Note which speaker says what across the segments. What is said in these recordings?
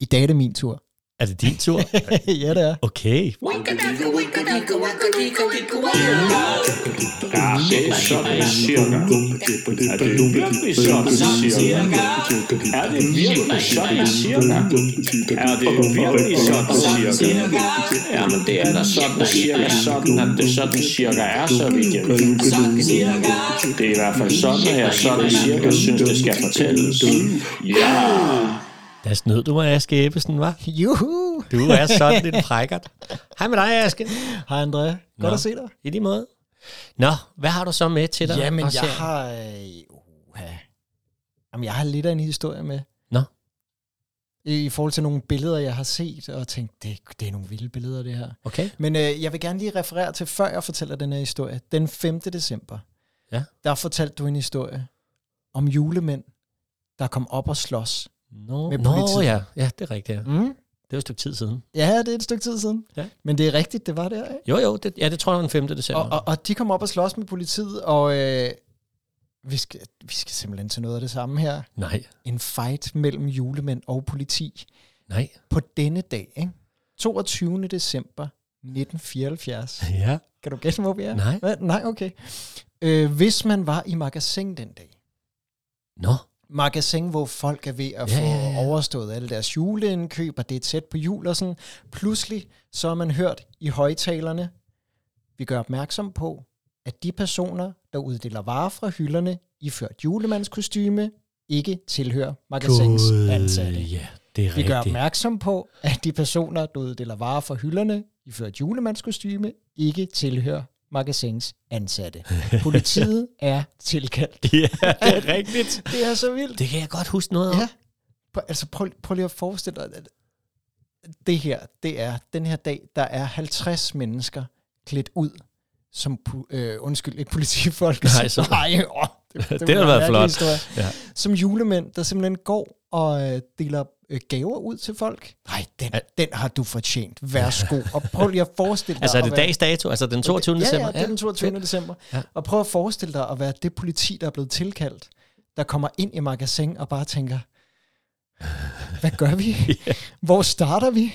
Speaker 1: I dag er det min tur.
Speaker 2: Er det din tur?
Speaker 1: ja, det er.
Speaker 2: Okay.
Speaker 3: Det er sådan cirka. Er det virkelig sådan cirka? Er det virkelig sådan cirka? Er det virkelig sådan cirka? Jamen det er da sådan cirka sådan, at det sådan cirka er, så vidt jeg ved. Det er i hvert fald sådan, at jeg sådan cirka synes, det skal fortælles. Ja!
Speaker 2: Der snød du mig, Aske Ebbesen, var?
Speaker 1: Juhu!
Speaker 2: Du er sådan en frækkert. Hej med dig, Aske.
Speaker 1: Hej Andrea. Godt
Speaker 2: Nå.
Speaker 1: at se dig.
Speaker 2: I lige måde. Nå, hvad har du så med til dig?
Speaker 1: Jamen,
Speaker 2: Også
Speaker 1: jeg
Speaker 2: her?
Speaker 1: har... Uh, Jamen, jeg har lidt af en historie med.
Speaker 2: Nå.
Speaker 1: I, I forhold til nogle billeder, jeg har set, og tænkt, det, det er nogle vilde billeder, det her.
Speaker 2: Okay.
Speaker 1: Men øh, jeg vil gerne lige referere til, før jeg fortæller den her historie. Den 5. december,
Speaker 2: Ja.
Speaker 1: der fortalte du en historie om julemænd, der kom op og slås.
Speaker 2: Nå,
Speaker 1: Med
Speaker 2: Nå
Speaker 1: politiet.
Speaker 2: ja. ja, det er rigtigt. Ja.
Speaker 1: Mm.
Speaker 2: Det var et stykke tid siden.
Speaker 1: Ja, det er et stykke tid siden.
Speaker 2: Ja.
Speaker 1: Men det er rigtigt, det var der, ikke?
Speaker 2: Jo, jo, det, ja, det tror jeg var den 5. december.
Speaker 1: Og, og, og de kom op og slås med politiet, og øh, vi, skal, vi skal simpelthen til noget af det samme her.
Speaker 2: Nej,
Speaker 1: En fight mellem julemænd og politi
Speaker 2: nej.
Speaker 1: på denne dag, ikke? 22. december 1974.
Speaker 2: Ja.
Speaker 1: Kan du gætte, hvor vi er?
Speaker 2: Nej.
Speaker 1: Hva? Nej, okay. Øh, hvis man var i magasin den dag,
Speaker 2: Nå,
Speaker 1: magasin, hvor folk er ved at
Speaker 2: Ja,
Speaker 1: ja, få
Speaker 2: ja, ja.
Speaker 1: overstået alle deres juleindkøb, og det er tæt på jul og sådan. Pludselig så har man hørt i højtalerne, vi gør opmærksom på, at de personer, der uddeler varer fra hylderne, iført julemandskostyme, ikke tilhører magasins ansatte.
Speaker 2: Ja, det er
Speaker 1: Vi gør
Speaker 2: rigtigt.
Speaker 1: opmærksom på, at de personer, der uddeler varer fra hylderne, iført julemandskostyme, ikke tilhører magasins ansatte. Politiet er tilkaldt.
Speaker 2: Ja, det er rigtigt.
Speaker 1: Det er så vildt.
Speaker 2: Det kan jeg godt huske noget om.
Speaker 1: Ja. Prøv, altså prøv, prøv lige at forestille dig, at det her, det er den her dag, der er 50 mennesker klædt ud som, pu- øh, undskyld, ikke politifolk.
Speaker 2: Nej,
Speaker 1: som-
Speaker 2: så-
Speaker 1: Nej, åh, det,
Speaker 2: Det
Speaker 1: ville
Speaker 2: har
Speaker 1: være en
Speaker 2: været
Speaker 1: mærkelig
Speaker 2: flot.
Speaker 1: historie.
Speaker 2: Ja.
Speaker 1: Som julemænd, der simpelthen går og øh, deler øh, gaver ud til folk. Nej, den, den har du fortjent. Værsgo. Og prøv lige at forestille dig.
Speaker 2: Altså er
Speaker 1: at
Speaker 2: det
Speaker 1: være-
Speaker 2: dags dato? Altså den 22.
Speaker 1: Ja,
Speaker 2: december?
Speaker 1: ja, det er den 22. december.
Speaker 2: Ja.
Speaker 1: Ja. Og prøv at forestille dig at være det politi, der er blevet tilkaldt, der kommer ind i magasin og bare tænker, hvad gør vi? Hvor starter vi?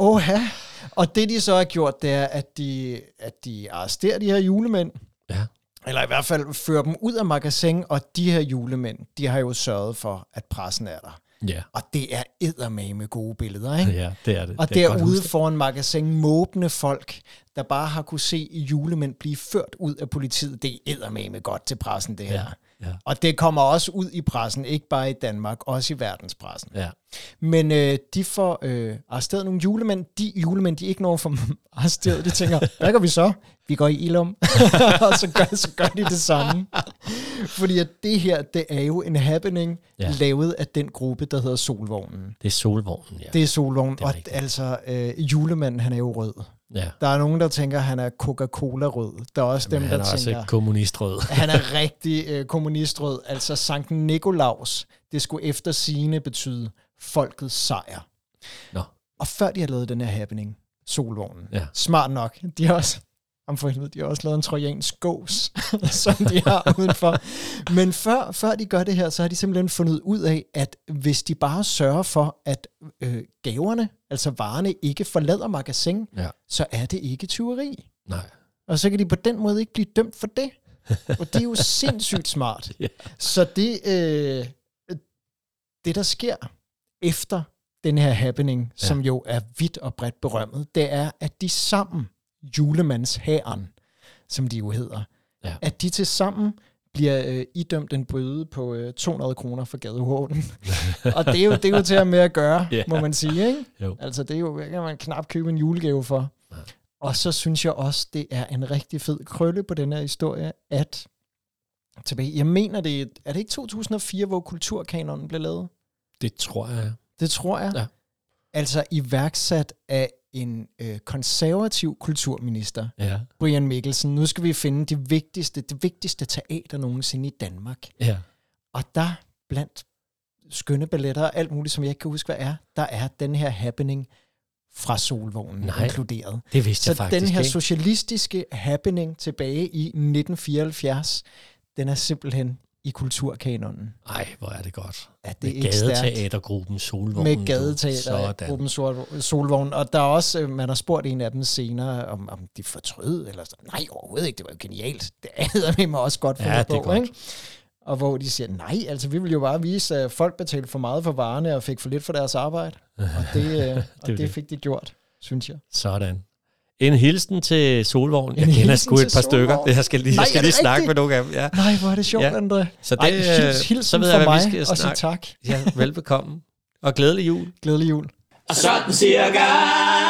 Speaker 1: Åh ja. Og det de så har gjort, det er, at de, at de arresterer de her julemænd,
Speaker 2: Ja.
Speaker 1: eller i hvert fald fører dem ud af magasin, og de her julemænd, de har jo sørget for, at pressen er der.
Speaker 2: Ja.
Speaker 1: Og det er eddermame gode billeder, ikke?
Speaker 2: ja, det er det.
Speaker 1: Og
Speaker 2: det er godt
Speaker 1: derude
Speaker 2: husket.
Speaker 1: foran magasin måbne folk, der bare har kunne se julemænd blive ført ud af politiet. Det er eddermame godt til pressen, det her.
Speaker 2: Ja, ja.
Speaker 1: Og det kommer også ud i pressen, ikke bare i Danmark, også i verdenspressen.
Speaker 2: Ja.
Speaker 1: Men øh, de får øh, arresteret nogle julemænd. De julemænd, de ikke når for arresteret, de tænker, hvad gør vi så? Vi går i Ilum. og så gør, så gør de det samme. Fordi at det her, det er jo en happening,
Speaker 2: Ja.
Speaker 1: ja. lavet af den gruppe, der hedder Solvognen.
Speaker 2: Det er solvognen, ja.
Speaker 1: Det er solvogn, og
Speaker 2: rigtigt.
Speaker 1: altså, øh, julemanden, han er jo rød.
Speaker 2: ja.
Speaker 1: Der er nogen, der tænker, han er Coca-Cola-rød. Der er også Jamen, dem,
Speaker 2: Men han
Speaker 1: der
Speaker 2: er også
Speaker 1: tænker,
Speaker 2: kommunistrød.
Speaker 1: han er rigtig øh, kommunistrød. Altså, Sankt Nikolaus, det skulle efter sigende betyde folkets sejr.
Speaker 2: Nå.
Speaker 1: Og før de har lavet den her happening, solvognen,
Speaker 2: Ja.
Speaker 1: smart nok, de har også, om for helvede, de har også lavet en trojansk gås, som de har udenfor. Men før, før de gør det her, så har de simpelthen fundet ud af, at hvis de bare sørger for, at øh, gaverne, altså varerne, ikke forlader magasin,
Speaker 2: Ja.
Speaker 1: så er det ikke tyveri.
Speaker 2: Nej.
Speaker 1: Og så kan de på den måde ikke blive dømt for det. Og det er jo sindssygt smart.
Speaker 2: Ja.
Speaker 1: Så det, øh, det, der sker efter den her happening, som jo er vidt og bredt berømmet, det er, at de sammen, julemandshæren, som de jo hedder,
Speaker 2: Ja.
Speaker 1: at de til sammen bliver øh, idømt en bøde på øh, 200 kroner for gadehånden. og det er, jo, det er jo til at med at gøre,
Speaker 2: Ja.
Speaker 1: yeah. må man sige. Ikke?
Speaker 2: Jo.
Speaker 1: Altså, det er jo, kan man knap købe en julegave for. Og så synes jeg også, det er en rigtig fed krølle på den her historie, at tilbage, jeg mener det, er- er det ikke 2004, hvor kulturkanonen blev lavet?
Speaker 2: Det tror jeg.
Speaker 1: Det tror jeg.
Speaker 2: Ja.
Speaker 1: Altså iværksat af en øh, konservativ kulturminister,
Speaker 2: Ja.
Speaker 1: Brian Mikkelsen. Nu skal vi finde de vigtigste, det vigtigste teater nogensinde i Danmark.
Speaker 2: Ja.
Speaker 1: Og der blandt skønne balletter og alt muligt, som jeg ikke kan huske, hvad er, der er den her happening fra Solvognen
Speaker 2: Nej.
Speaker 1: Nej. inkluderet.
Speaker 2: Det vidste
Speaker 1: Så
Speaker 2: jeg faktisk
Speaker 1: den her
Speaker 2: ikke.
Speaker 1: socialistiske happening tilbage i 1974, den er simpelthen i kulturkanonen.
Speaker 2: Ej, hvor er det godt.
Speaker 1: Ja, det
Speaker 2: Det
Speaker 1: er
Speaker 2: med
Speaker 1: ikke stærkt.
Speaker 2: gadeteatergruppen Solvognen.
Speaker 1: med
Speaker 2: Sådan.
Speaker 1: gadeteatergruppen Sol- Solvogn. Og der er også, øh, man har spurgt en af dem senere, om, om de fortrød, eller sådan. Nej, overhovedet ikke, det var jo genialt. Det havde vi mig også godt
Speaker 2: Ja,
Speaker 1: fundet
Speaker 2: det er
Speaker 1: på,
Speaker 2: godt.
Speaker 1: Ikke? Og hvor de siger, nej, altså vi vil jo bare vise, at folk betalte for meget for varerne og fik for lidt for deres arbejde. Og det, øh, og
Speaker 2: jo
Speaker 1: det,
Speaker 2: det.
Speaker 1: det fik de gjort, synes jeg.
Speaker 2: Sådan. En hilsen til Solvogn. Jeg
Speaker 1: En
Speaker 2: kender
Speaker 1: hilsen
Speaker 2: sgu et
Speaker 1: til
Speaker 2: par stykker.
Speaker 1: Solvogn.
Speaker 2: Det, jeg skal lige,
Speaker 1: Nej,
Speaker 2: jeg skal
Speaker 1: er det
Speaker 2: lige snakke
Speaker 1: rigtigt?
Speaker 2: med nogle af dem. Ja.
Speaker 1: Nej, hvor er det sjovt,
Speaker 2: Ja.
Speaker 1: ja. André.
Speaker 2: Så det,
Speaker 1: Ej, hils,
Speaker 2: øh,
Speaker 1: hilsen
Speaker 2: så ved jeg,
Speaker 1: fra
Speaker 2: hvad
Speaker 1: mig,
Speaker 2: vi skal
Speaker 1: og sig
Speaker 2: snakke.
Speaker 1: tak.
Speaker 2: Ja, velbekomme. Og glædelig jul.
Speaker 1: Glædelig jul.
Speaker 3: Og sådan cirka.